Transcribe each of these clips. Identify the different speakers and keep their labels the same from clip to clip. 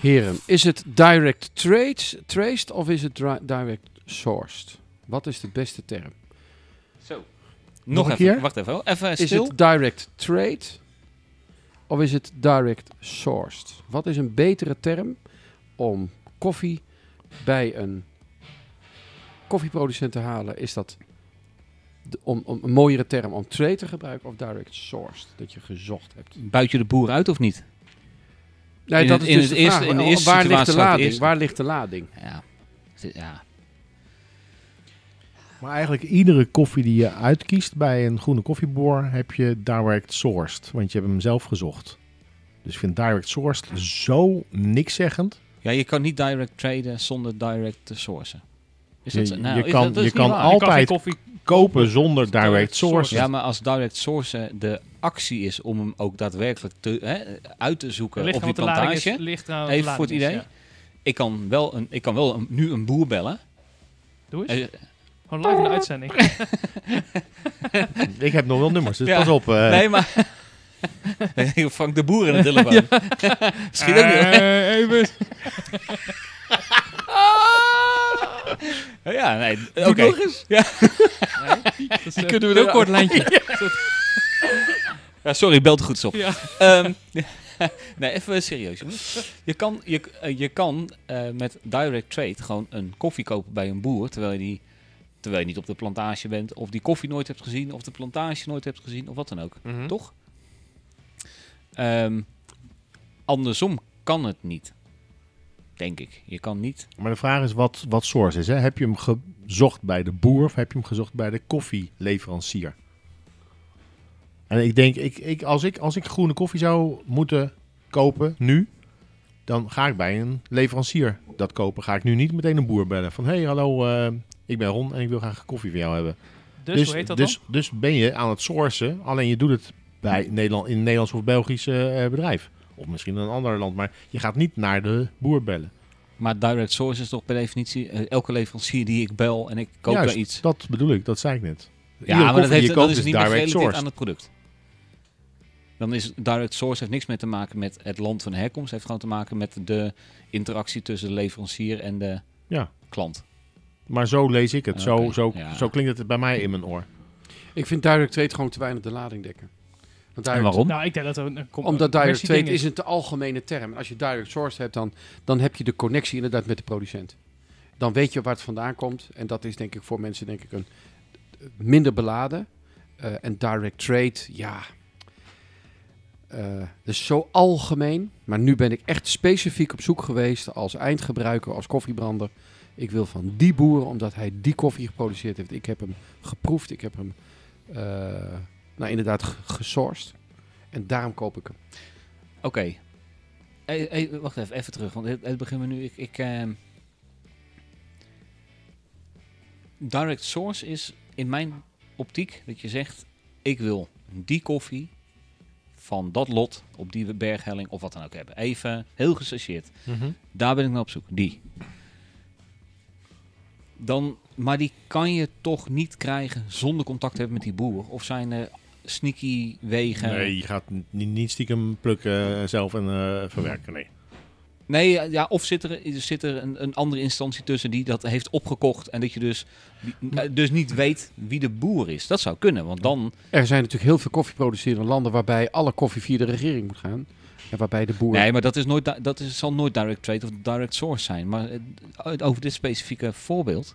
Speaker 1: Heren, is het direct trades, traced of is het dri- direct sourced? Wat is de beste term?
Speaker 2: Zo.
Speaker 1: Nog
Speaker 2: Nog,
Speaker 1: een
Speaker 2: even.
Speaker 1: keer?
Speaker 2: Wacht even. hoor. Even
Speaker 1: Is
Speaker 2: stil.
Speaker 1: het direct trade of is het direct sourced? Wat is een betere term om koffie bij een koffieproducent te halen? Is dat de- om, om een mooiere term om trade te gebruiken of direct sourced? Dat je gezocht hebt.
Speaker 2: Buit je de boer uit of niet?
Speaker 1: Nee,
Speaker 2: In
Speaker 1: dat
Speaker 2: het-
Speaker 1: is
Speaker 2: in
Speaker 1: dus
Speaker 2: het
Speaker 1: de
Speaker 2: eerste-
Speaker 1: vraag.
Speaker 2: in de eerste
Speaker 1: waar ligt de
Speaker 2: situatie zou het
Speaker 1: lading?
Speaker 2: eerst-
Speaker 1: Waar ligt de lading?
Speaker 2: Ja. ja.
Speaker 3: Maar eigenlijk iedere koffie die je uitkiest bij een groene koffieboer heb je direct sourced, want je hebt hem zelf gezocht. Dus ik vind direct sourced zo nikszeggend.
Speaker 2: Ja, je kan niet direct traden zonder direct te sourcen. Is
Speaker 3: Je-
Speaker 2: dat, nou,
Speaker 3: je
Speaker 2: is
Speaker 3: kan-
Speaker 2: dat, dat is
Speaker 3: je
Speaker 2: niet
Speaker 3: kan
Speaker 2: waar.
Speaker 3: al-
Speaker 4: Je kan geen
Speaker 3: Altijd
Speaker 4: koffie
Speaker 3: Kopen zonder direct
Speaker 4: Direct
Speaker 3: sourced.
Speaker 4: sourced.
Speaker 2: Ja, maar als direct sourcen de actie is om hem ook daadwerkelijk te, hè, uit te zoeken
Speaker 4: ligt
Speaker 2: op
Speaker 4: aan
Speaker 2: die
Speaker 4: wat de lading is,
Speaker 2: plantage.
Speaker 4: ligt aan wat de
Speaker 2: Even voor het
Speaker 4: lading
Speaker 2: idee.
Speaker 4: is,
Speaker 2: Ik kan wel, een, ik kan wel een- nu een boer bellen.
Speaker 4: ja. Doe eens.
Speaker 2: Eh,
Speaker 4: Gewoon live in de uitzending.
Speaker 3: Ik heb nog wel nummers, dus
Speaker 2: Ja.
Speaker 3: pas op. eh.
Speaker 2: nee, maar... Frank de Boer in de telefoon. Misschien ook niet.
Speaker 4: Eh, even.
Speaker 2: hoor. Ja, nee. Oké.
Speaker 4: Dat is, eh,
Speaker 2: kunnen we
Speaker 4: heel
Speaker 2: er-
Speaker 4: kort lijntje.
Speaker 2: Ja, sorry, belt goed op.
Speaker 4: Ja.
Speaker 2: Ehm, nee, even serieus, jongens. Je kan, je, eh, je kan eh, met direct trade gewoon een koffie kopen bij een boer, terwijl je, die, terwijl je niet op de plantage bent, of die koffie nooit hebt gezien, of de plantage nooit hebt gezien, of wat dan ook.
Speaker 4: Mhm. Hm?
Speaker 2: Toch? Ehm, andersom kan het niet. Denk ik. Je kan niet.
Speaker 3: Maar de vraag is wat, wat source is. Hè? Heb je hem gezocht bij de boer of heb je hem gezocht bij de koffieleverancier? En ik denk, ik, ik, als, ik, als ik groene koffie zou moeten kopen nu, dan ga ik bij een leverancier dat kopen. Ga ik nu niet meteen een boer bellen van, hey hallo, eh, ik ben Ron en ik wil graag koffie van jou hebben.
Speaker 4: Dus, hoe heet dat
Speaker 3: dus, dus ben je aan het sourcen, alleen je doet het bij Nederland, in een Nederlands of Belgisch eh, eh, bedrijf. Of misschien een ander land, maar je gaat niet naar de boer bellen.
Speaker 2: Maar direct source is toch per definitie eh, elke leverancier die ik bel en ik koop
Speaker 3: Juist,
Speaker 2: daar iets.
Speaker 3: Dat bedoel ik, dat zei ik net.
Speaker 2: Ja, maar dat, heeft, dat is niet meer gerelateerd aan het product. Dan is direct source heeft niks meer te maken met het land van herkomst. heeft gewoon te maken met de interactie tussen de leverancier en de
Speaker 3: Ja.
Speaker 2: klant.
Speaker 3: Maar zo lees ik het. zo,
Speaker 2: Oké,
Speaker 3: zo,
Speaker 2: ja.
Speaker 3: zo klinkt het bij mij in mijn oor.
Speaker 1: Ik vind direct trade gewoon te weinig de lading dekken. Want direct-
Speaker 2: En waarom?
Speaker 4: Nou, ik denk dat er een kom- eh,
Speaker 1: Omdat
Speaker 4: een
Speaker 1: direct trade
Speaker 4: conversieding
Speaker 1: is een te algemene term. En als je direct source hebt, dan, dan heb je de connectie inderdaad met de producent. Dan weet je waar het vandaan komt. En dat is denk ik voor mensen denk ik een minder beladen. Eh, en direct trade, ja. eh dus zo algemeen. Maar nu ben ik echt specifiek op zoek geweest als eindgebruiker, als koffiebrander. Ik wil van die boer, omdat hij die koffie geproduceerd heeft. Ik heb hem geproefd, ik heb hem eh, nou, inderdaad g- gesourced. En daarom koop ik hem.
Speaker 2: Oké. Hey, hey, wacht even, even terug. Want het, het begint me nu. Ik, ik, ehm, direct source is in mijn optiek dat je zegt: ik wil die koffie van dat lot op die berghelling of wat dan ook hebben. Even heel gechargeerd. Daar ben ik naar op zoek. Die. Dan, maar die kan je toch niet krijgen zonder contact te hebben met die boer? Of zijn er sneaky wegen?
Speaker 3: Nee, je gaat n- niet, niet stiekem plukken eh, zelf en eh, verwerken. Nee.
Speaker 2: Nee, ja, ja, of zit er, zit er een, een andere instantie tussen die dat heeft opgekocht en dat je dus, die- eh, dus niet weet wie de boer is. Dat zou kunnen, want dan...
Speaker 1: Er zijn natuurlijk heel veel koffieproducerende landen waarbij alle koffie via de regering moet gaan. En waarbij de boer.
Speaker 2: Nee, maar dat, is nooit, di- dat is, zal nooit direct trade of direct source zijn. Maar eh, over dit specifieke voorbeeld...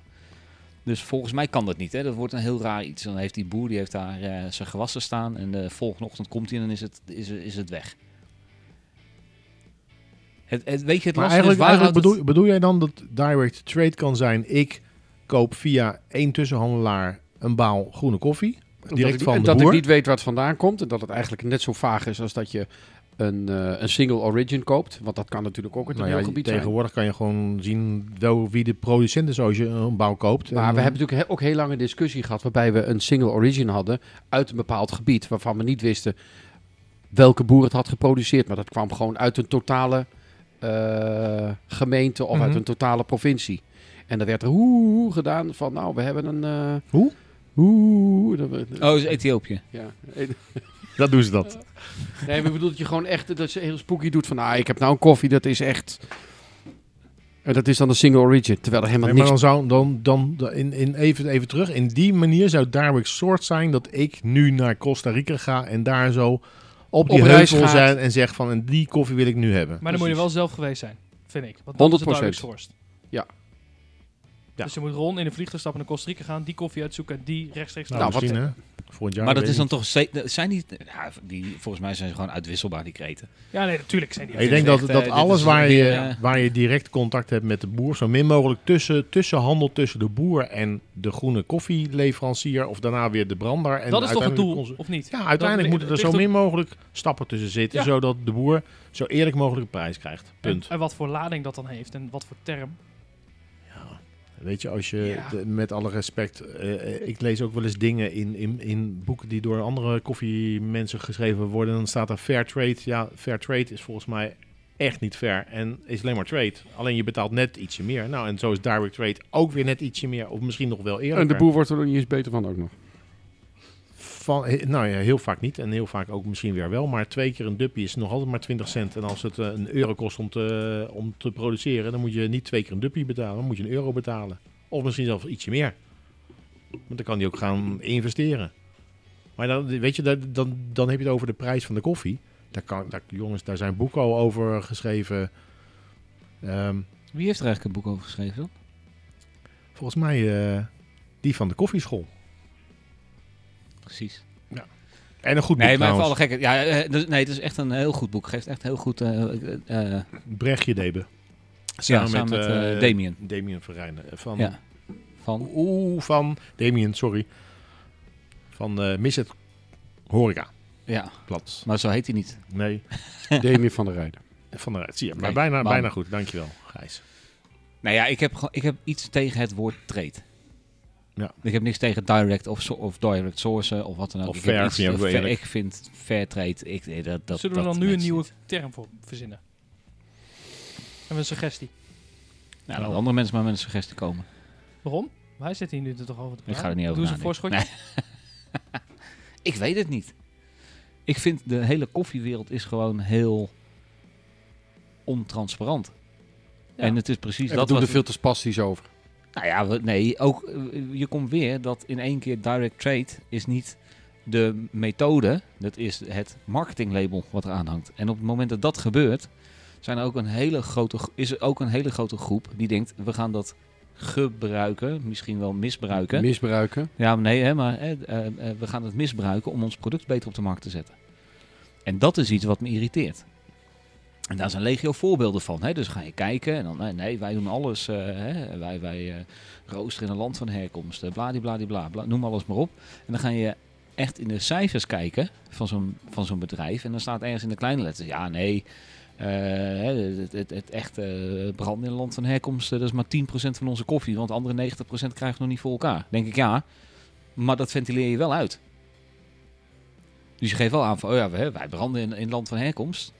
Speaker 2: Dus volgens mij kan dat niet. Hè? Dat wordt een heel raar iets. Dan heeft die boer die heeft daar eh, zijn gewassen staan. En de volgende ochtend komt hij en dan is het, is, is het weg. Het, het, weet je, het
Speaker 3: Maar
Speaker 2: lastige is,
Speaker 3: eigenlijk,
Speaker 2: waar
Speaker 3: eigenlijk
Speaker 2: houdt
Speaker 3: bedoel, bedoel jij dan dat direct trade kan zijn... ik koop via één tussenhandelaar een baal groene koffie...
Speaker 1: Omdat
Speaker 3: direct
Speaker 1: ik,
Speaker 3: van
Speaker 1: en
Speaker 3: de
Speaker 1: dat
Speaker 3: boer.
Speaker 1: ik niet weet waar het vandaan komt. En dat het eigenlijk net zo vaag is als dat je een, eh, een single origin koopt. Want dat kan natuurlijk ook uit een
Speaker 3: Nou ja,
Speaker 1: heel gebied zijn.
Speaker 3: tegenwoordig kan je gewoon zien wel wie de producent is als je een bouw koopt.
Speaker 1: Maar
Speaker 3: En, eh,
Speaker 1: we hebben natuurlijk he- ook heel lang een discussie gehad waarbij we een single origin hadden uit een bepaald gebied waarvan we niet wisten welke boer het had geproduceerd. Maar dat kwam gewoon uit een totale eh, gemeente of uit
Speaker 3: Mhm.
Speaker 1: een totale provincie. En dan werd er hoe gedaan van nou we hebben een... eh,
Speaker 3: Hoe?
Speaker 1: Hoe? Dat we-
Speaker 2: Oh, is Ethiopië.
Speaker 1: Ja.
Speaker 3: Dat doen ze dat.
Speaker 1: Nee, maar ik bedoel dat je gewoon echt dat ze heel spooky doet van ah ik heb nou een koffie dat is echt... En dat is dan een single origin, terwijl er helemaal
Speaker 3: Nee, maar
Speaker 1: niks...
Speaker 3: dan zou dan, dan, dan- in, in, even, even terug. In die manier zou Darwick soort zijn dat ik nu naar Costa Rica ga en daar zo op die
Speaker 1: Op reis
Speaker 3: heuvel
Speaker 1: gaat.
Speaker 3: zijn en zeg van en die koffie wil ik nu hebben.
Speaker 4: Maar dan moet je
Speaker 1: Precies.
Speaker 4: wel zelf geweest zijn, vind ik. Want dat is het
Speaker 1: 100%.
Speaker 4: Direct Sourced.
Speaker 1: Ja.
Speaker 3: Ja.
Speaker 4: Dus je moet rond in een vliegtuig stappen naar Costa Rica gaan, die koffie uitzoeken, die rechtstreeks
Speaker 3: Nou,
Speaker 4: naar
Speaker 1: Nou, wat-
Speaker 3: misschien hè. Volgend jaar.
Speaker 2: Maar dat
Speaker 3: weet
Speaker 2: is
Speaker 3: ik
Speaker 2: dan toch... ze- Zijn die, ja, die... Volgens mij zijn ze gewoon uitwisselbaar, die kreten.
Speaker 4: Ja, nee, natuurlijk zijn die.
Speaker 3: Ik denk dat,
Speaker 2: echt, eh,
Speaker 3: dat
Speaker 2: dit
Speaker 3: alles
Speaker 2: is
Speaker 3: waar
Speaker 2: weer,
Speaker 3: je,
Speaker 2: eh,
Speaker 3: waar je direct contact hebt met de boer, zo min mogelijk tussen, tussen handel tussen de boer en de groene koffieleverancier, of daarna weer de brander. En
Speaker 4: dat is toch het
Speaker 3: uiteindelijk
Speaker 4: doel,
Speaker 3: de consu-
Speaker 4: of niet?
Speaker 3: Ja, uiteindelijk
Speaker 4: Dat-
Speaker 3: moeten er
Speaker 4: het
Speaker 3: zo
Speaker 4: ligt op-
Speaker 3: min mogelijk stappen tussen zitten,
Speaker 4: Ja.
Speaker 3: zodat de boer zo eerlijk mogelijk een prijs krijgt. Punt.
Speaker 4: En, en wat voor lading dat dan heeft en wat voor term.
Speaker 3: Weet je, als je
Speaker 4: Ja.
Speaker 3: de- met alle respect, eh, eh, ik lees ook wel eens dingen in, in, in boeken die door andere koffiemensen geschreven worden. Dan staat er fair trade. Ja, fair trade is volgens mij echt niet fair en is alleen maar trade. Alleen je betaalt net ietsje meer. Nou, en zo is direct trade ook weer net ietsje meer, of misschien nog wel eerder.
Speaker 1: En de boer wordt er nog niet eens beter van ook nog.
Speaker 3: Van, he- nou ja, heel vaak niet en heel vaak ook misschien weer wel. Maar twee keer een duppie is nog altijd maar 20 cent. En als het eh, een euro kost om te, om te produceren, dan moet je niet twee keer een duppie betalen. Dan moet je een euro betalen. Of misschien zelfs ietsje meer. Want dan kan die ook gaan investeren. Maar dan, weet je, dan, dan, dan heb je het over de prijs van de koffie. Daar kan, daar, jongens, daar zijn boeken al over geschreven. Ehm,
Speaker 2: Wie heeft er eigenlijk een boek over geschreven dan?
Speaker 3: volgens mij eh, die van de koffieschool.
Speaker 2: Precies.
Speaker 3: En een goed boek
Speaker 2: Nee, maar voor alle
Speaker 3: trouwens.
Speaker 2: gekke. Ja, eh, dus- nee, het is echt een heel goed boek. Geeft echt heel goed... eh, eh, eh,
Speaker 3: Brechtje Debe.
Speaker 2: ja, samen met, eh,
Speaker 3: eh,
Speaker 2: Damien.
Speaker 3: Damien van Rijnen. eh, Van,
Speaker 2: Ja. Van...
Speaker 3: Oeh, van Damien, sorry. Van eh Miss het Horeca.
Speaker 2: Ja,
Speaker 3: Plat.
Speaker 2: maar zo heet hij niet.
Speaker 3: Nee,
Speaker 1: Damien van der Rijden.
Speaker 3: van de Rijt. Zie je, maar
Speaker 2: Kijk,
Speaker 3: bijna,
Speaker 2: man.
Speaker 3: bijna goed. Dankjewel, Gijs.
Speaker 2: Nou ja, ik heb, gewoon- ik heb iets tegen het woord trade.
Speaker 3: Ja.
Speaker 2: Ik heb niks tegen direct of, so- of direct sourcen of wat dan ook.
Speaker 3: Of
Speaker 2: ik, heb
Speaker 3: fair,
Speaker 2: iets-
Speaker 3: vind je ook wel
Speaker 2: fair-
Speaker 3: eerlijk.
Speaker 2: ik vind fair trade. Ik, eh, dat, dat,
Speaker 4: Zullen we
Speaker 2: dat
Speaker 4: dan nu een
Speaker 2: matcht
Speaker 4: nieuwe
Speaker 2: niet.
Speaker 4: term voor verzinnen? Hebben we een suggestie?
Speaker 2: Nou, laten andere mensen maar met een suggestie komen.
Speaker 4: Waarom? Wij zitten hier nu er toch over te
Speaker 2: Ik
Speaker 4: praten.
Speaker 2: ga er niet over
Speaker 4: Doe eens een
Speaker 2: nadenken.
Speaker 4: voorschotje.
Speaker 2: Nee. ik weet het niet. Ik vind de hele koffiewereld is gewoon heel ontransparant.
Speaker 4: Ja.
Speaker 2: En het is precies
Speaker 1: En we
Speaker 2: dat
Speaker 1: doen
Speaker 2: wat
Speaker 1: er veel te spastisch over.
Speaker 2: Nou ja, we- nee, ook eh, je komt weer dat in één keer direct trade is niet de methode, dat is het marketinglabel wat eraan hangt. En op het moment dat dat gebeurt, zijn er ook een hele grote, gro- is er ook een hele grote groep die denkt, we gaan dat gebruiken, misschien wel misbruiken.
Speaker 1: Misbruiken.
Speaker 2: ja, maar nee, hè, maar hè, eh, eh, we gaan het misbruiken om ons product beter op de markt te zetten. En dat is iets wat me irriteert. En daar zijn legio voorbeelden van. Hè? Dus ga je kijken en dan, nee, nee wij doen alles. eh, hè? Wij, wij eh, roosteren in een land van herkomst. eh, Bladibladibla, bla, noem alles maar op. En dan ga je echt in de cijfers kijken van zo'n, van zo'n bedrijf. En dan staat ergens in de kleine letters, ja nee, eh, hè, het, het, het echte brand in een land van herkomst, eh, dat is maar 10% van onze koffie. Want de andere 90% krijgen we nog niet voor elkaar. Denk ik, ja, maar dat ventileer je wel uit. Dus je geeft wel aan van, oh ja, wij, wij branden in, in het land van herkomst.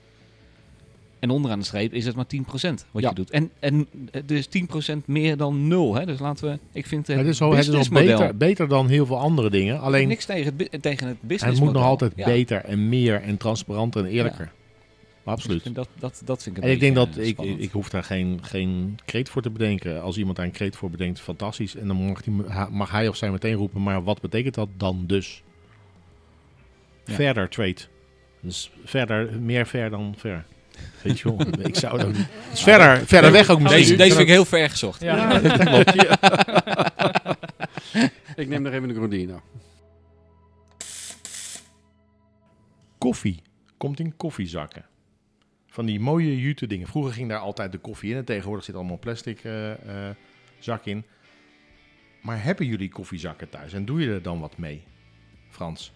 Speaker 2: En onderaan de streep is het maar 10% wat
Speaker 1: Ja.
Speaker 2: je doet. En, en eh, dus 10% meer dan nul. Hè? Dus laten we, ik vind het,
Speaker 3: het is al, het is al
Speaker 2: businessmodel-
Speaker 3: beter, beter dan heel veel andere dingen.
Speaker 2: Ik heb
Speaker 3: Alleen,
Speaker 2: niks tegen het, bu- tegen het business.
Speaker 3: het moet nog
Speaker 2: model.
Speaker 3: altijd
Speaker 2: Ja,
Speaker 3: beter en meer en transparanter en eerlijker. Maar
Speaker 2: dus
Speaker 3: absoluut.
Speaker 2: ik vind dat, dat, dat vind ik een
Speaker 3: En ik denk
Speaker 2: beetje,
Speaker 3: dat
Speaker 2: eh,
Speaker 3: ik,
Speaker 2: spannend.
Speaker 3: ik hoef daar geen, geen kreet voor te bedenken. Als iemand daar een kreet voor bedenkt, fantastisch. En dan mag, die, mag hij of zij meteen roepen, maar wat betekent dat dan dus?
Speaker 2: Ja.
Speaker 3: Verder trade. Dus verder, meer ver dan ver. Weet je wel, ik zou dan... Dus verder, verder weg ook misschien.
Speaker 2: Deze, deze vind ik heel ver gezocht.
Speaker 4: Ja.
Speaker 3: dat klopt. Ja.
Speaker 1: Ik neem nog even een Grondino.
Speaker 3: Koffie komt in koffiezakken. Van die mooie jute dingen. Vroeger ging daar altijd de koffie in. En tegenwoordig zit allemaal plastic eh, eh, zak in. Maar hebben jullie koffiezakken thuis? En doe je er dan wat mee, Frans?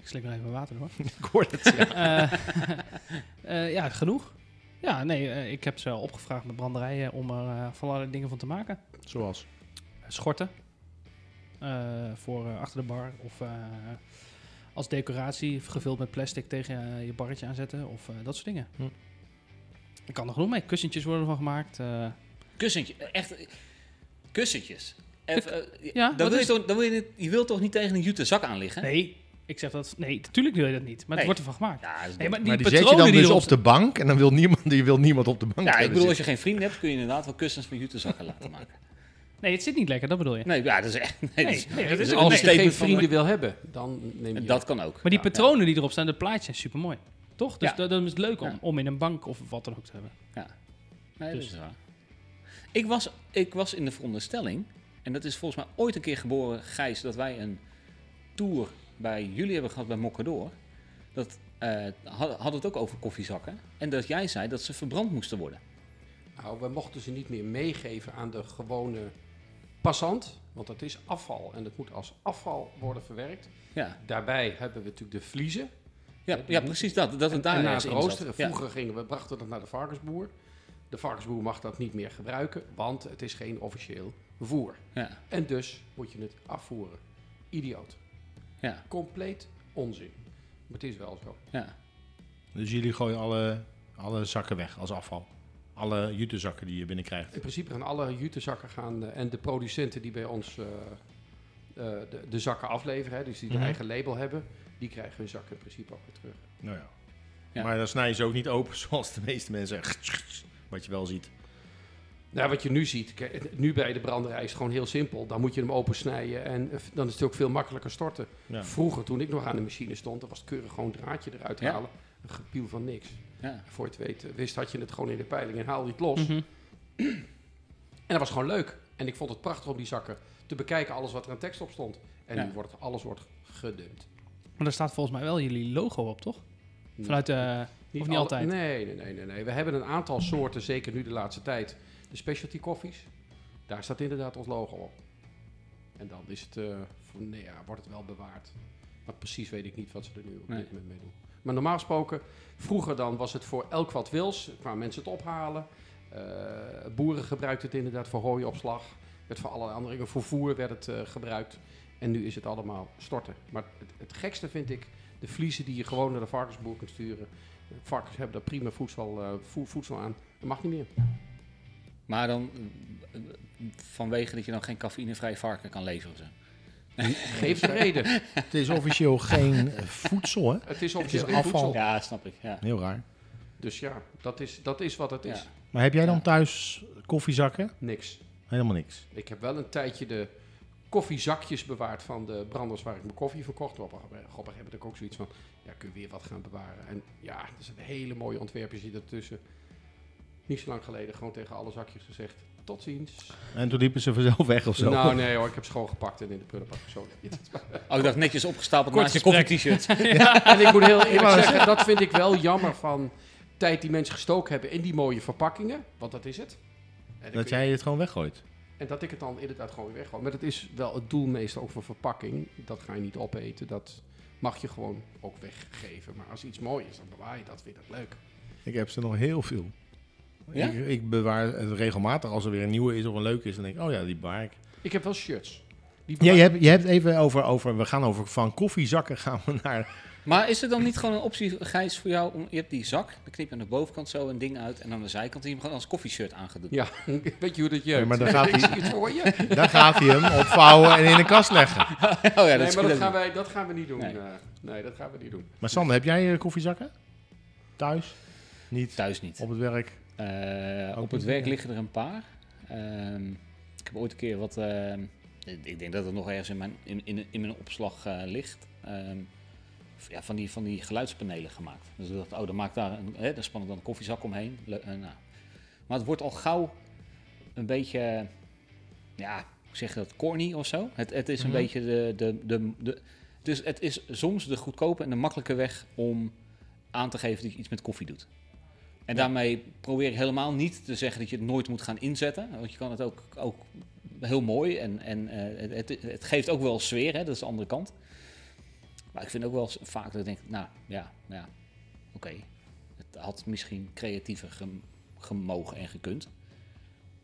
Speaker 4: Ik slik nog even water hoor.
Speaker 3: Ik hoor het. ja.
Speaker 4: Eh, eh, ja, genoeg. Ja, nee, eh, ik heb ze wel opgevraagd met branderijen om er eh, van allerlei dingen van te maken.
Speaker 3: Zoals.
Speaker 4: schorten. eh, voor eh, achter de bar. Of eh, als decoratie gevuld met plastic tegen eh, je barretje aanzetten. Of eh, dat soort dingen.
Speaker 3: Hm.
Speaker 4: Ik kan er genoeg mee. Kussentjes worden ervan gemaakt. eh,
Speaker 2: Kussentje, echt. eh, Kussentjes. Even, eh,
Speaker 4: ja,
Speaker 2: dan
Speaker 4: wat
Speaker 2: wil je,
Speaker 4: is-
Speaker 2: toch, dan wil je, niet- je wilt toch niet tegen een jute zak aan liggen?
Speaker 4: nee, ik zeg dat. Nee, natuurlijk wil je dat niet. Maar
Speaker 2: Nee.
Speaker 4: het wordt ervan gemaakt.
Speaker 2: Ja, dat is
Speaker 4: Nee, maar die,
Speaker 3: Maar die zet je
Speaker 4: patronen
Speaker 3: dan
Speaker 4: die
Speaker 3: dus
Speaker 4: erop
Speaker 3: op de bank en dan wil niemand, die wil niemand op de bank
Speaker 2: ja, ik
Speaker 3: hebben
Speaker 2: bedoel, als
Speaker 3: zitten.
Speaker 2: je geen vrienden hebt, kun je inderdaad wel kussens van jute zakken laten maken.
Speaker 4: Nee, het zit niet lekker, dat bedoel je.
Speaker 2: Nee, ja, dat is echt. Nee, dat, is,
Speaker 4: Nee, nee, dat
Speaker 2: dat
Speaker 4: is
Speaker 2: is
Speaker 4: ook-
Speaker 2: een
Speaker 1: Als je
Speaker 2: statement
Speaker 1: geen
Speaker 2: van-
Speaker 1: vrienden wil hebben, dan neem je...
Speaker 2: dat kan ook.
Speaker 4: Maar die
Speaker 2: Ja, ja.
Speaker 4: patronen die erop staan, de plaatjes zijn super mooi. Toch? Dus
Speaker 2: Ja.
Speaker 4: dat, dat is leuk om,
Speaker 2: Ja.
Speaker 4: om in een bank of wat dan ook te hebben.
Speaker 2: Nee,
Speaker 4: Dus-
Speaker 2: dat is waar. Ik was, ik was in de veronderstelling, en dat is volgens mij ooit een keer geboren, Gijs, dat wij een tour bij jullie hebben gehad bij Mokkadoor. Dat eh had, had het ook over koffiezakken. En dat jij zei dat ze verbrand moesten worden.
Speaker 1: Nou, we mochten ze niet meer meegeven aan de gewone passant, want dat is afval en dat moet als afval worden verwerkt.
Speaker 2: Ja,
Speaker 1: Daarbij hebben we natuurlijk de vliezen. Ja,
Speaker 2: ja,
Speaker 1: die
Speaker 2: ja
Speaker 1: moet-
Speaker 2: precies dat. Dat het daar
Speaker 1: en na
Speaker 2: ergens
Speaker 1: het
Speaker 2: in zat.
Speaker 1: roosteren,
Speaker 2: Ja.
Speaker 1: vroeger gingen we, brachten we dat naar de varkensboer. De varkensboer mag dat niet meer gebruiken, want het is geen officieel voer.
Speaker 2: Ja,
Speaker 1: En dus moet je het afvoeren. Idioot.
Speaker 2: ja,
Speaker 1: Compleet onzin. Maar het is wel zo.
Speaker 2: ja.
Speaker 3: Dus jullie gooien alle, alle zakken weg als afval. Alle jutezakken die je binnenkrijgt.
Speaker 1: In principe gaan alle jutezakken gaan eh, en de producenten die bij ons eh, eh, de, de zakken afleveren, hè, dus die
Speaker 3: Mhm.
Speaker 1: een eigen label hebben, die krijgen hun zakken in principe ook weer terug.
Speaker 3: Nou ja.
Speaker 2: Ja.
Speaker 3: Maar dan snij je ze ook niet open zoals de meeste mensen. Wat je wel ziet.
Speaker 1: Nou, wat je nu ziet, kijk, het- nu bij de branderij is het gewoon heel simpel. Dan moet je hem opensnijden en eh, dan is het ook veel makkelijker storten.
Speaker 3: Ja.
Speaker 1: Vroeger, toen ik nog aan de machine stond, dan was het keurig gewoon een draadje eruit
Speaker 2: Ja.
Speaker 1: halen. Een gepiel van niks.
Speaker 2: ja.
Speaker 1: Voor je het weten, wist had je het gewoon in de peiling en haalde je het los.
Speaker 4: Mhm.
Speaker 1: En dat was gewoon leuk. En ik vond het prachtig om die zakken te bekijken, alles wat er aan tekst op stond. En
Speaker 2: Ja.
Speaker 1: nu wordt alles wordt gedumpt.
Speaker 4: Maar daar staat volgens mij wel jullie logo op, toch? Vanuit de... Of niet
Speaker 1: alle-
Speaker 4: altijd?
Speaker 1: Nee, nee, nee, nee, nee. We hebben een aantal soorten, zeker nu de laatste tijd. De specialty koffies. Daar staat inderdaad ons logo op. En dan is het, eh, van, nee, ja, wordt het wel bewaard. Maar precies weet ik niet wat ze er nu op
Speaker 2: Nee.
Speaker 1: dit moment mee doen. Maar normaal gesproken, vroeger dan was het voor elk wat wils. Kwamen mensen het ophalen. Eh, boeren gebruikten het inderdaad voor hooiopslag. Werd voor allerlei andere dingen. Voor voer werd het eh, gebruikt. En nu is het allemaal storten. Maar het, het gekste vind ik de vliezen die je gewoon naar de varkensboer kunt sturen. Varkens hebben daar prima voedsel, eh, voe- voedsel aan. Dat mag niet meer.
Speaker 2: Maar dan eh, eh, vanwege dat je dan geen cafeïnevrij varken kan leveren. of Zo.
Speaker 1: Geef ze reden.
Speaker 3: Het is officieel geen eh, voedsel, hè?
Speaker 1: Het is officieel
Speaker 3: Het
Speaker 1: geen
Speaker 3: is afval.
Speaker 1: voedsel.
Speaker 2: Ja, snap ik. Ja.
Speaker 3: Heel raar.
Speaker 1: Dus ja, dat is, dat is wat het
Speaker 2: Ja.
Speaker 1: is.
Speaker 3: Maar heb jij dan
Speaker 2: Ja.
Speaker 3: thuis koffiezakken?
Speaker 1: Niks.
Speaker 3: Helemaal niks.
Speaker 1: Ik heb wel een tijdje de koffiezakjes bewaard van de branders waar ik mijn koffie verkocht. Op een gegeven moment heb ik ook zoiets van, ja, kun je weer wat gaan bewaren. En ja, er zijn hele mooie ontwerpjes die ertussen. Niet zo lang geleden gewoon tegen alle zakjes gezegd, tot ziens.
Speaker 3: En toen liepen ze vanzelf weg of zo.
Speaker 1: Nou nee hoor, ik heb ze gewoon gepakt en in de prullenbak gestoken.
Speaker 2: Oh, ik dacht netjes opgestapeld
Speaker 4: Kort
Speaker 2: naast je koffie-t-shirt.
Speaker 1: En ik moet heel
Speaker 3: Ik
Speaker 1: eerlijk
Speaker 3: wou
Speaker 1: zeggen, dat vind ik wel jammer van tijd die mensen gestoken hebben in die mooie verpakkingen. Want dat is het. En,
Speaker 3: dat
Speaker 1: ik,
Speaker 3: jij het gewoon weggooit.
Speaker 1: en dat ik het dan inderdaad gewoon weer weggooi. Maar dat is wel het doel meestal ook van verpakking. Dat ga je niet opeten. Dat mag je gewoon ook weggeven. Maar als iets mooi is, dan bewaar je dat. Vind ik dat leuk.
Speaker 3: Ik heb ze nog heel veel.
Speaker 2: Ja?
Speaker 3: Ik, ik bewaar het regelmatig als er weer een nieuwe is of een leuke is. Dan denk ik, oh ja, die bewaar ik.
Speaker 1: Ik heb wel shirts. Die
Speaker 3: Ja,
Speaker 1: bewaar-
Speaker 3: je hebt, je hebt even over, over, we gaan over van koffiezakken gaan we naar...
Speaker 2: Maar is er dan niet gewoon een optie, Gijs, voor jou? Om, je hebt die zak, dan knip je aan de bovenkant zo een ding uit. En aan de zijkant die je hem gewoon als koffieshirt aan gaat doen.
Speaker 1: Ja, weet je hoe dat je.
Speaker 3: Nee, maar dan gaat
Speaker 1: Is
Speaker 3: hij,
Speaker 1: iets voor je? Nee,
Speaker 3: dan gaat hij hem opvouwen en in de kast leggen.
Speaker 2: Oh ja, dat is
Speaker 1: maar dat
Speaker 2: goed.
Speaker 1: gaan, wij, dat gaan we niet doen.
Speaker 2: Nee.
Speaker 1: eh. nee, dat gaan we niet doen.
Speaker 3: Maar Sander, heb jij eh, koffiezakken? Thuis? Niet.
Speaker 2: Thuis niet.
Speaker 3: Op het werk?
Speaker 2: Eh,
Speaker 3: Ook
Speaker 2: op het
Speaker 3: niet,
Speaker 2: werk
Speaker 3: ja.
Speaker 2: liggen er een paar. Ehm, ik heb ooit een keer wat. ehm, ik ik denk dat het nog ergens in mijn, in, in, in mijn opslag eh, ligt. Ehm, v- ja, van, die, van die geluidspanelen gemaakt. Dus ik dacht, oh, dan maak ik daar een, hè, dan span ik dan een koffiezak omheen. Le- eh, nou. Maar het wordt al gauw een beetje. eh, ja, hoe zeg je dat? Corny of zo. Het, het is een
Speaker 3: Mhm.
Speaker 2: beetje de. de, de, de dus het is soms de goedkope en de makkelijke weg om aan te geven dat je iets met koffie doet. En daarmee probeer ik helemaal niet te zeggen dat je het nooit moet gaan inzetten. Want je kan het ook, ook heel mooi en, en eh, het, het geeft ook wel sfeer, hè? dat is de andere kant. Maar ik vind ook wel eens vaak dat ik denk, nou ja, nou ja oké. Het had misschien creatiever gem- gemogen en gekund.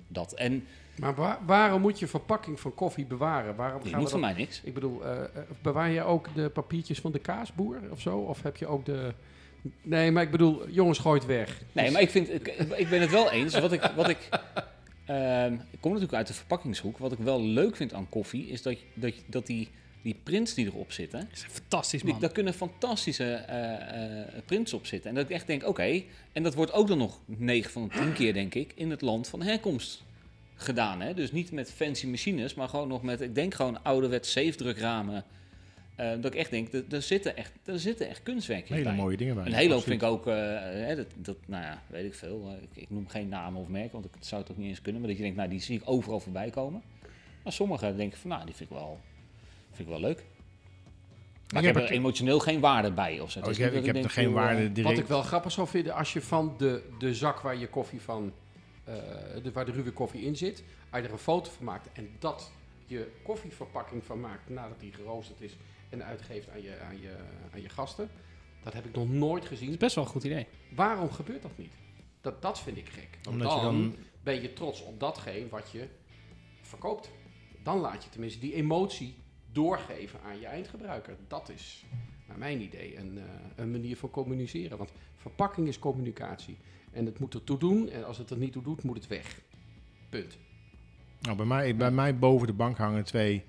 Speaker 2: Dat. En
Speaker 1: Maar wa- waarom moet je verpakking van koffie bewaren? Waarom
Speaker 2: je
Speaker 1: gaan we
Speaker 2: moet
Speaker 1: dat...
Speaker 2: van mij niks.
Speaker 1: Ik bedoel, eh, eh, bewaar je ook de papiertjes van de kaasboer of zo? Of heb je ook de... Nee, maar ik bedoel, jongens, gooi het weg.
Speaker 2: Nee,
Speaker 1: Dus-
Speaker 2: maar ik, vind, ik, ik ben het wel eens. Wat ik, wat ik, ehm, ik kom natuurlijk uit de verpakkingshoek. Wat ik wel leuk vind aan koffie is dat, dat, dat die, die prints die erop zitten.
Speaker 4: is fantastisch,
Speaker 2: Die,
Speaker 4: man.
Speaker 2: daar kunnen fantastische eh, eh, prints op zitten. En dat ik echt denk, oké. en dat wordt ook dan nog 9 van de 10 keer, denk ik, in het land van herkomst gedaan. Hè? Dus niet met fancy machines, maar gewoon nog met, ik denk gewoon ouderwets zeefdrukramen. Eh, dat ik echt denk, er- er zitten echt, er zitten echt kunstwerkjes
Speaker 3: Hele
Speaker 2: bij.
Speaker 3: mooie dingen bij.
Speaker 2: Een hele hoop vind ik ook, eh, hè, dat, dat, nou ja, weet ik veel. Eh, ik, ik noem geen namen of merken, want ik zou het ook niet eens kunnen. Maar dat je denkt, nou, die zie ik overal voorbij komen. Maar sommige denk ik van, nou, die vind ik wel, vind ik wel leuk. Maar ik heb er emotioneel geen waarde bij of zo. Het
Speaker 3: Oh,
Speaker 2: is
Speaker 3: ik
Speaker 2: niet
Speaker 3: heb,
Speaker 2: dat
Speaker 3: ik heb er
Speaker 2: denk,
Speaker 3: geen
Speaker 2: joh, eh,
Speaker 3: waarde
Speaker 1: Wat
Speaker 3: direct.
Speaker 1: ik wel grappig zou vinden, als je van de, de zak waar je koffie van, eh, de, waar de ruwe koffie in zit, als je er een foto van maakt en dat je koffieverpakking van maakt nadat die geroosterd is en uitgeeft aan je, aan je, aan je gasten, dat heb ik nog nooit
Speaker 4: is
Speaker 1: gezien.
Speaker 4: best wel een goed idee.
Speaker 1: Waarom gebeurt dat niet? Dat, dat vind ik gek. Want
Speaker 3: Omdat je dan...
Speaker 1: ben je trots op datgene wat je verkoopt. Dan laat je tenminste die emotie doorgeven aan je eindgebruiker. Dat is, naar mijn idee, een, eh, een manier van communiceren. Want verpakking is communicatie. En het moet ertoe doen. En als het er niet toe doet, moet het weg. Punt.
Speaker 3: Nou, bij, mij, bij mij boven de bank hangen twee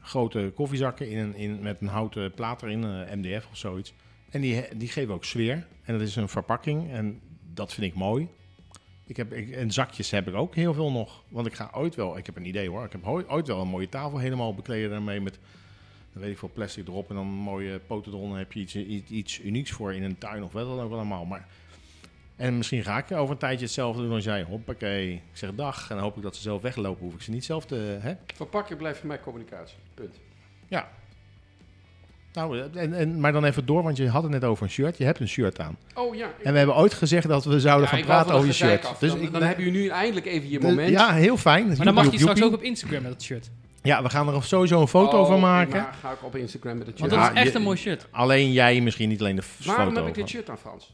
Speaker 3: grote koffiezakken in een, in, met een houten plaat erin, eh, een MDF of zoiets. En die, he- die geven ook sfeer. En dat is een verpakking en dat vind ik mooi. Ik heb, ik, en zakjes heb ik ook heel veel nog. Want ik ga ooit wel, ik heb een idee hoor, ik heb ooit, ooit wel een mooie tafel helemaal bekleden daarmee met, dan weet ik veel, plastic erop en dan mooie poten eronder. Dan heb je iets, iets, iets unieks voor in een tuin of wat dan ook allemaal. Maar en misschien ga ik over een tijdje hetzelfde doen als jij. Hoppakee, ik zeg dag. En dan hoop ik dat ze zelf weglopen. Hoef ik ze niet zelf te... Hè?
Speaker 1: Verpakking blijft voor mij communicatie. Punt.
Speaker 3: Ja. Nou, en, en, maar dan even door, want je had het net over een shirt. Je hebt een shirt aan.
Speaker 1: Oh ja.
Speaker 3: En we hebben ooit gezegd dat we zouden
Speaker 1: Ja,
Speaker 3: gaan
Speaker 1: ik wou
Speaker 3: praten
Speaker 1: van dat
Speaker 3: over je
Speaker 1: gezeik
Speaker 3: shirt. Dus
Speaker 1: af. dan, dan hebben jullie nu eindelijk even je
Speaker 3: de-
Speaker 1: moment.
Speaker 3: Ja, heel fijn.
Speaker 4: Maar dan mag je
Speaker 3: Joepie,
Speaker 4: straks ook
Speaker 3: joepie.
Speaker 4: op Instagram met dat shirt.
Speaker 3: Ja, we gaan er sowieso een foto
Speaker 1: Oh,
Speaker 3: van maken.
Speaker 1: prima. ga ik op Instagram met het
Speaker 4: Want
Speaker 1: shirt.
Speaker 4: dat is
Speaker 3: Ja,
Speaker 4: echt
Speaker 3: je-
Speaker 4: een mooi shirt.
Speaker 3: Alleen jij misschien, niet alleen de f-
Speaker 1: Waarom
Speaker 3: foto.
Speaker 1: heb ik dit
Speaker 3: van.
Speaker 1: shirt aan, Frans?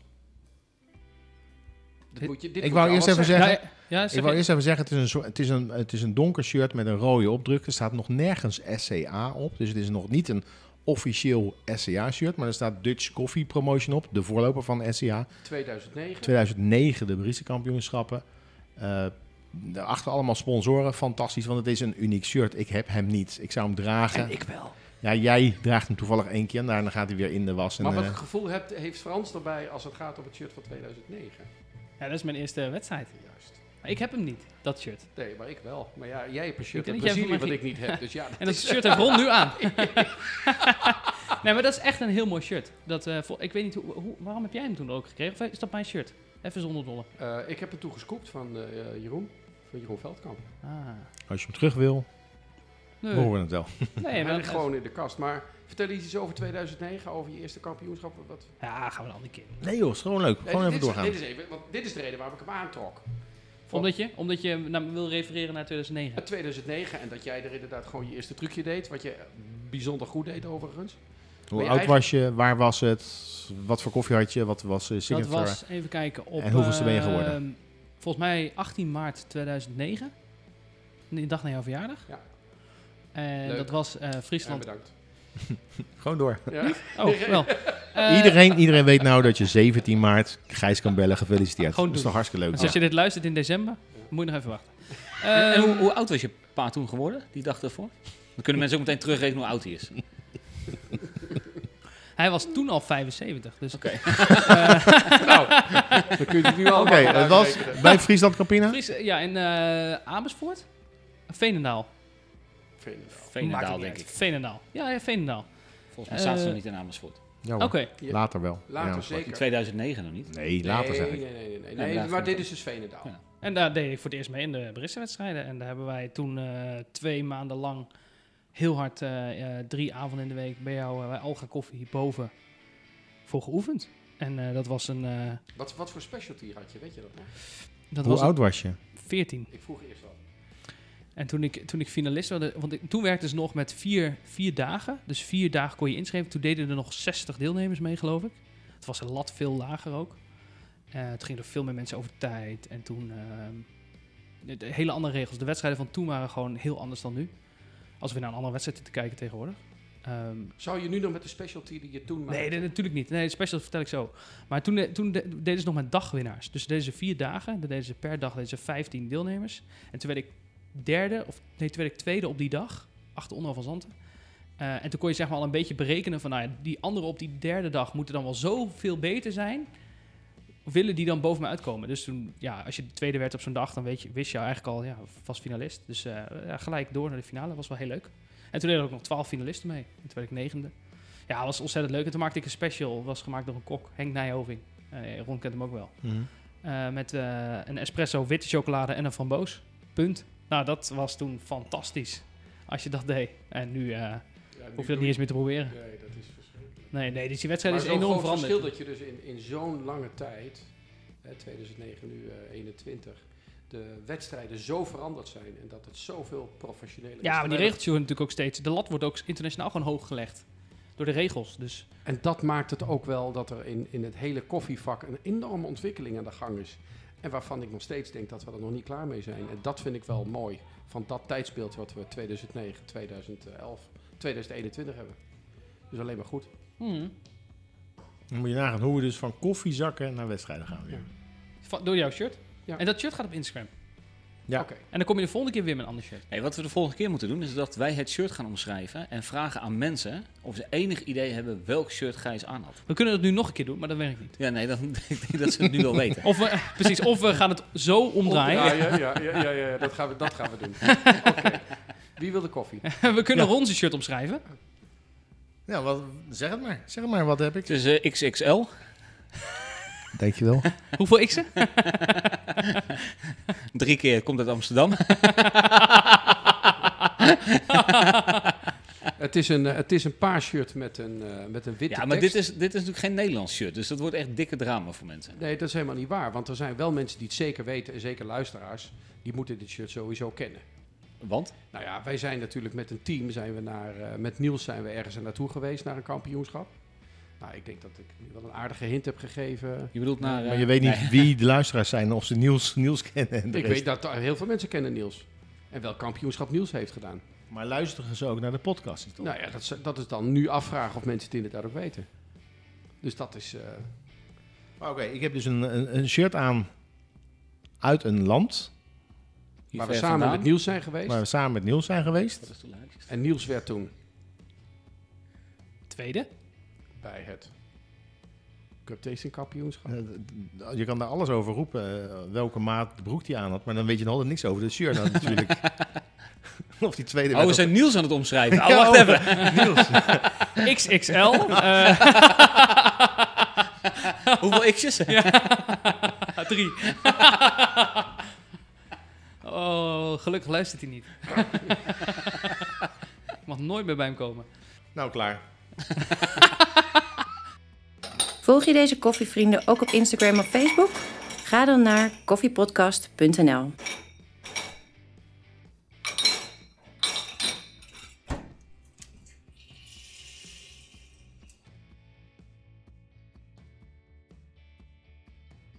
Speaker 1: Dit
Speaker 4: Dit-
Speaker 1: moet je, dit
Speaker 3: Ik
Speaker 1: moet
Speaker 3: wou
Speaker 1: je
Speaker 3: eerst
Speaker 1: alles
Speaker 3: even
Speaker 4: Ja,
Speaker 3: zeggen-
Speaker 4: ja, ja, zeg
Speaker 3: Ik wil
Speaker 4: je-
Speaker 3: eerst even zeggen, het is, een, soort- het, is een, het is een donker shirt met een rode opdruk. Er staat nog nergens SCA op. Dus het is nog niet een officieel SCA-shirt. Maar er staat Dutch Coffee Promotion op. De voorloper van SCA.
Speaker 1: 2009.
Speaker 3: 2009 de Briesekampioenschappen. kampioenschappen. daarachter allemaal sponsoren. Fantastisch, want het is een uniek shirt. Ik heb hem niet. Ik zou hem dragen.
Speaker 4: ik wel.
Speaker 3: Ja, jij draagt hem toevallig één keer. En daarna gaat hij weer in de was. En,
Speaker 1: Maar wat
Speaker 3: eh,
Speaker 1: het gevoel hebt, heeft Frans erbij als het gaat om het shirt van 2009?
Speaker 4: Ja, dat is mijn eerste wedstrijd.
Speaker 1: Juist.
Speaker 4: Maar ik heb hem niet, dat shirt.
Speaker 1: Nee, maar ik wel. Maar ja, jij hebt een shirt
Speaker 4: Ik
Speaker 1: uit
Speaker 4: denk dat jij
Speaker 1: Brazilië
Speaker 4: voor
Speaker 1: wat
Speaker 4: mij
Speaker 1: ik niet heb. Dus ja,
Speaker 4: En dat shirt heeft Ron nu aan. nee, maar dat is echt een heel mooi shirt. Dat, eh, vol- ik weet niet, hoe, hoe- waarom heb jij hem toen ook gekregen? Of is dat mijn shirt? Even zonder dolle.
Speaker 1: Eh, ik heb het toegescoopt van eh, Jeroen. Van Jeroen Veldkamp.
Speaker 4: Ah.
Speaker 3: als je hem terug wil,
Speaker 4: Nee,
Speaker 1: Hm.
Speaker 3: we horen het wel.
Speaker 4: nee
Speaker 1: Hij
Speaker 4: maar
Speaker 1: ligt gewoon in de kast. Maar vertel eens iets over 2009, over je eerste kampioenschap. Wat...
Speaker 4: Ja, gaan we een andere keer.
Speaker 3: Nee joh, is gewoon leuk. Gewoon
Speaker 1: Nee,
Speaker 3: even
Speaker 1: dit,
Speaker 3: doorgaan.
Speaker 1: Is, dit, is even, want dit is de reden waarom ik hem aantrok.
Speaker 4: Omdat je, omdat je naar, wil refereren naar 2009.
Speaker 1: 2009 en dat jij er inderdaad gewoon je eerste trucje deed. Wat je bijzonder goed deed overigens.
Speaker 3: Hoe
Speaker 1: Maar je
Speaker 3: oud
Speaker 1: eigen-
Speaker 3: was je? Waar was het? Wat voor koffie had je? Wat was eh
Speaker 4: Dat
Speaker 3: signature?
Speaker 4: was, even kijken, op...
Speaker 3: En hoeveelste ben je geworden?
Speaker 4: ehm, volgens mij 18 maart 2009. Die dag na jouw verjaardag.
Speaker 1: Ja.
Speaker 4: En
Speaker 1: Leuk.
Speaker 4: dat was eh,
Speaker 1: Ja,
Speaker 4: Friesland.
Speaker 1: bedankt.
Speaker 3: Gewoon door.
Speaker 1: Ja.
Speaker 4: oh, wel. Eh,
Speaker 3: iedereen, iedereen weet nou dat je 17 maart Gijs kan bellen. Gefeliciteerd.
Speaker 4: Gewoon
Speaker 3: dat is
Speaker 4: doen.
Speaker 3: toch hartstikke leuk.
Speaker 4: Dus als je dit luistert in december, moet je nog even wachten.
Speaker 2: En, en
Speaker 3: Eh,
Speaker 4: Ehm,
Speaker 2: eh, hoe, hoe oud was je pa toen geworden, die dag daarvoor? Dan kunnen mensen ook meteen terugrekenen hoe oud hij is.
Speaker 4: Hij was toen al 75. Dus
Speaker 2: Oké.
Speaker 1: nou, dan kun je het nu al
Speaker 3: Oké, het was bij Friesland Campina.
Speaker 4: Fries, ja, in eh Amersfoort? Veenendaal.
Speaker 2: Veenendaal, denk ik.
Speaker 4: Veenendaal. Ja, ja Veenendaal.
Speaker 2: Volgens mij staat ze
Speaker 4: Eh,
Speaker 2: nog niet in Amersfoort.
Speaker 3: Ja,
Speaker 4: Oké.
Speaker 3: hoor. Later wel.
Speaker 1: Later
Speaker 3: Ja.
Speaker 2: In
Speaker 1: zeker.
Speaker 2: 2009 nog niet.
Speaker 3: Nee, later zeg ik.
Speaker 1: Nee, nee, nee. nee,
Speaker 2: Ja,
Speaker 1: nee,
Speaker 2: later.
Speaker 1: maar dit is dus Veenendaal.
Speaker 2: Ja.
Speaker 4: En daar deed ik voor het eerst mee in de wedstrijden. En daar hebben wij toen eh, twee maanden lang heel hard, eh, eh, drie avonden in de week, bij jou eh, bij Alga Koffie hierboven voor geoefend. En eh, dat was een... eh,
Speaker 1: Wat, wat voor specialty had je, weet je dat nog?
Speaker 4: dat
Speaker 3: Hoe
Speaker 4: was
Speaker 3: oud was je?
Speaker 4: een 14.
Speaker 1: Ik vroeg eerst al.
Speaker 4: En toen ik, toen ik finalist wilde, want ik, toen werkte ze nog met vier, vier dagen. Dus vier dagen kon je inschrijven. Toen deden er nog 60 deelnemers mee, geloof ik. Het was een lat veel lager ook. Eh het gingen er veel meer mensen over tijd. En toen ehm, de- de hele andere regels. De wedstrijden van toen waren gewoon heel anders dan nu. Als we naar een andere wedstrijd zitten te kijken tegenwoordig. Ehm,
Speaker 1: Zou je nu nog met de specialty die je toen maakte?
Speaker 4: nee, nee, natuurlijk niet. Nee, de specials vertel ik zo. Maar toen, eh, toen de- deden ze nog met dagwinnaars. Dus deden ze vier dagen. Dan deden ze per dag deden ze 15 deelnemers. En toen werd ik derde, of nee, toen werd ik tweede op die dag. Achter Onno van Zanten. Eh, en toen kon je zeg maar al een beetje berekenen van... Nou ja, die anderen op die derde dag moeten dan wel zoveel beter zijn... Willen die dan boven me uitkomen? Dus toen, ja, als je de tweede werd op zo'n dag, dan weet je, wist je eigenlijk al, ja, vast finalist. Dus eh, ja, gelijk door naar de finale, was wel heel leuk. En toen deden er ook nog twaalf finalisten mee. En toen werd ik negende. Ja, het was ontzettend leuk. En toen maakte ik een special. Was gemaakt door een kok, Henk Nijhoving. Eh Ron kent hem ook wel.
Speaker 3: Mhm.
Speaker 4: Eh, met eh, een espresso, witte chocolade en een framboos. Punt. Nou, dat was toen fantastisch. Als je dat deed. En nu eh, hoef je dat niet eens meer te proberen.
Speaker 1: Nee, dat is verschrikkelijk.
Speaker 4: Nee, nee, dus die wedstrijd
Speaker 1: Maar
Speaker 4: is enorm
Speaker 1: Het
Speaker 4: veranderd.
Speaker 1: verschil dat je dus in, in zo'n lange tijd, hè, 2009 nu eh, 21, de wedstrijden zo veranderd zijn en dat het zoveel professioneler is.
Speaker 4: Ja, maar die
Speaker 1: Terwijl-
Speaker 4: regels worden natuurlijk ook steeds. De lat wordt ook internationaal gewoon hoog gelegd. Door de regels. Dus
Speaker 1: En dat maakt het ook wel dat er in, in het hele koffievak een enorme ontwikkeling aan de gang is. En waarvan ik nog steeds denk dat we er nog niet klaar mee zijn. En dat vind ik wel mooi van dat tijdsbeeld wat we 2009, 2011, 2021 hebben. Dus alleen maar goed.
Speaker 4: hmm,
Speaker 3: Dan moet je nagaan hoe we dus van koffiezakken naar wedstrijden gaan weer.
Speaker 4: va- door jouw shirt.
Speaker 1: Ja.
Speaker 4: En dat shirt gaat op Instagram.
Speaker 3: Ja.
Speaker 1: Oké.
Speaker 4: En dan kom je de volgende keer weer met een ander shirt.
Speaker 2: Nee, wat we de volgende keer moeten doen is dat wij het shirt gaan omschrijven en vragen aan mensen of ze enig idee hebben welk shirt Gijs aan had.
Speaker 4: We kunnen dat nu nog een keer doen, maar dat werkt niet.
Speaker 2: Ja, nee, dan ik denk dat ze het nu wel weten.
Speaker 4: Of we, precies, of we gaan het zo omdraaien.
Speaker 1: Ja, ja, ja, ja, ja, ja, dat, gaan we, dat gaan we doen. Oké. Wie wil de koffie?
Speaker 4: we kunnen Ron zijn shirt omschrijven.
Speaker 3: Ja, wat, zeg het maar. Zeg het maar, wat heb ik?
Speaker 2: Het is eh, XXL.
Speaker 3: Dankjewel.
Speaker 4: Hoeveel x'en?
Speaker 2: Drie keer komt uit Amsterdam.
Speaker 1: Het is een, eh, het is een paars shirt met een, eh, met een witte
Speaker 2: Ja, maar
Speaker 1: tekst.
Speaker 2: dit is, dit is natuurlijk geen Nederlands shirt, dus dat wordt echt dikke drama voor mensen.
Speaker 1: Nee, dat is helemaal niet waar. Want er zijn wel mensen die het zeker weten, en zeker luisteraars, die moeten dit shirt sowieso kennen.
Speaker 2: Want?
Speaker 1: Nou ja, wij zijn natuurlijk met een team, zijn we naar, eh, met Niels zijn we ergens naartoe geweest, naar een kampioenschap. Nou, ik denk dat ik nu wel een aardige hint heb gegeven.
Speaker 2: Je bedoelt naar... eh,
Speaker 3: Maar je weet niet
Speaker 2: nee.
Speaker 3: wie de luisteraars zijn, of ze Niels, Niels kennen en de
Speaker 1: ik
Speaker 3: rest.
Speaker 1: weet dat er heel veel mensen kennen Niels. En welk kampioenschap Niels heeft gedaan.
Speaker 3: Maar luisteren ze ook naar de podcast? Is toch?
Speaker 1: Nou ja, dat is, dat is dan nu afvragen of mensen het inderdaad ook weten. Dus dat is... eh,
Speaker 3: Maar Oké, ik heb dus een, een, een shirt aan uit een land
Speaker 2: Hier
Speaker 1: waar we
Speaker 2: ver
Speaker 1: samen
Speaker 2: vandaan.
Speaker 1: met Niels zijn geweest.
Speaker 3: waar we samen met Niels zijn geweest.
Speaker 2: Wat is de laagste?
Speaker 1: En Niels werd toen
Speaker 4: Tweede.
Speaker 1: bij het Cup Tasting kampioenschap.
Speaker 3: Eh, Je kan daar alles over roepen, eh, welke maat de broek die aan had, maar dan weet je nog altijd niks over de shirt dan natuurlijk. of die tweede.
Speaker 2: Oh,
Speaker 3: werd
Speaker 2: we
Speaker 3: op-
Speaker 2: zijn Niels aan het omschrijven. Oh,
Speaker 3: Ja,
Speaker 2: wacht
Speaker 3: oh.
Speaker 2: even.
Speaker 4: XXL. eh,
Speaker 2: Hoeveel x's?
Speaker 4: drie. oh, gelukkig luistert hij niet. Ik mag nooit meer bij hem komen.
Speaker 3: Nou, klaar.
Speaker 5: Volg je deze koffievrienden ook op Instagram of Facebook? Ga dan naar koffiepodcast.nl.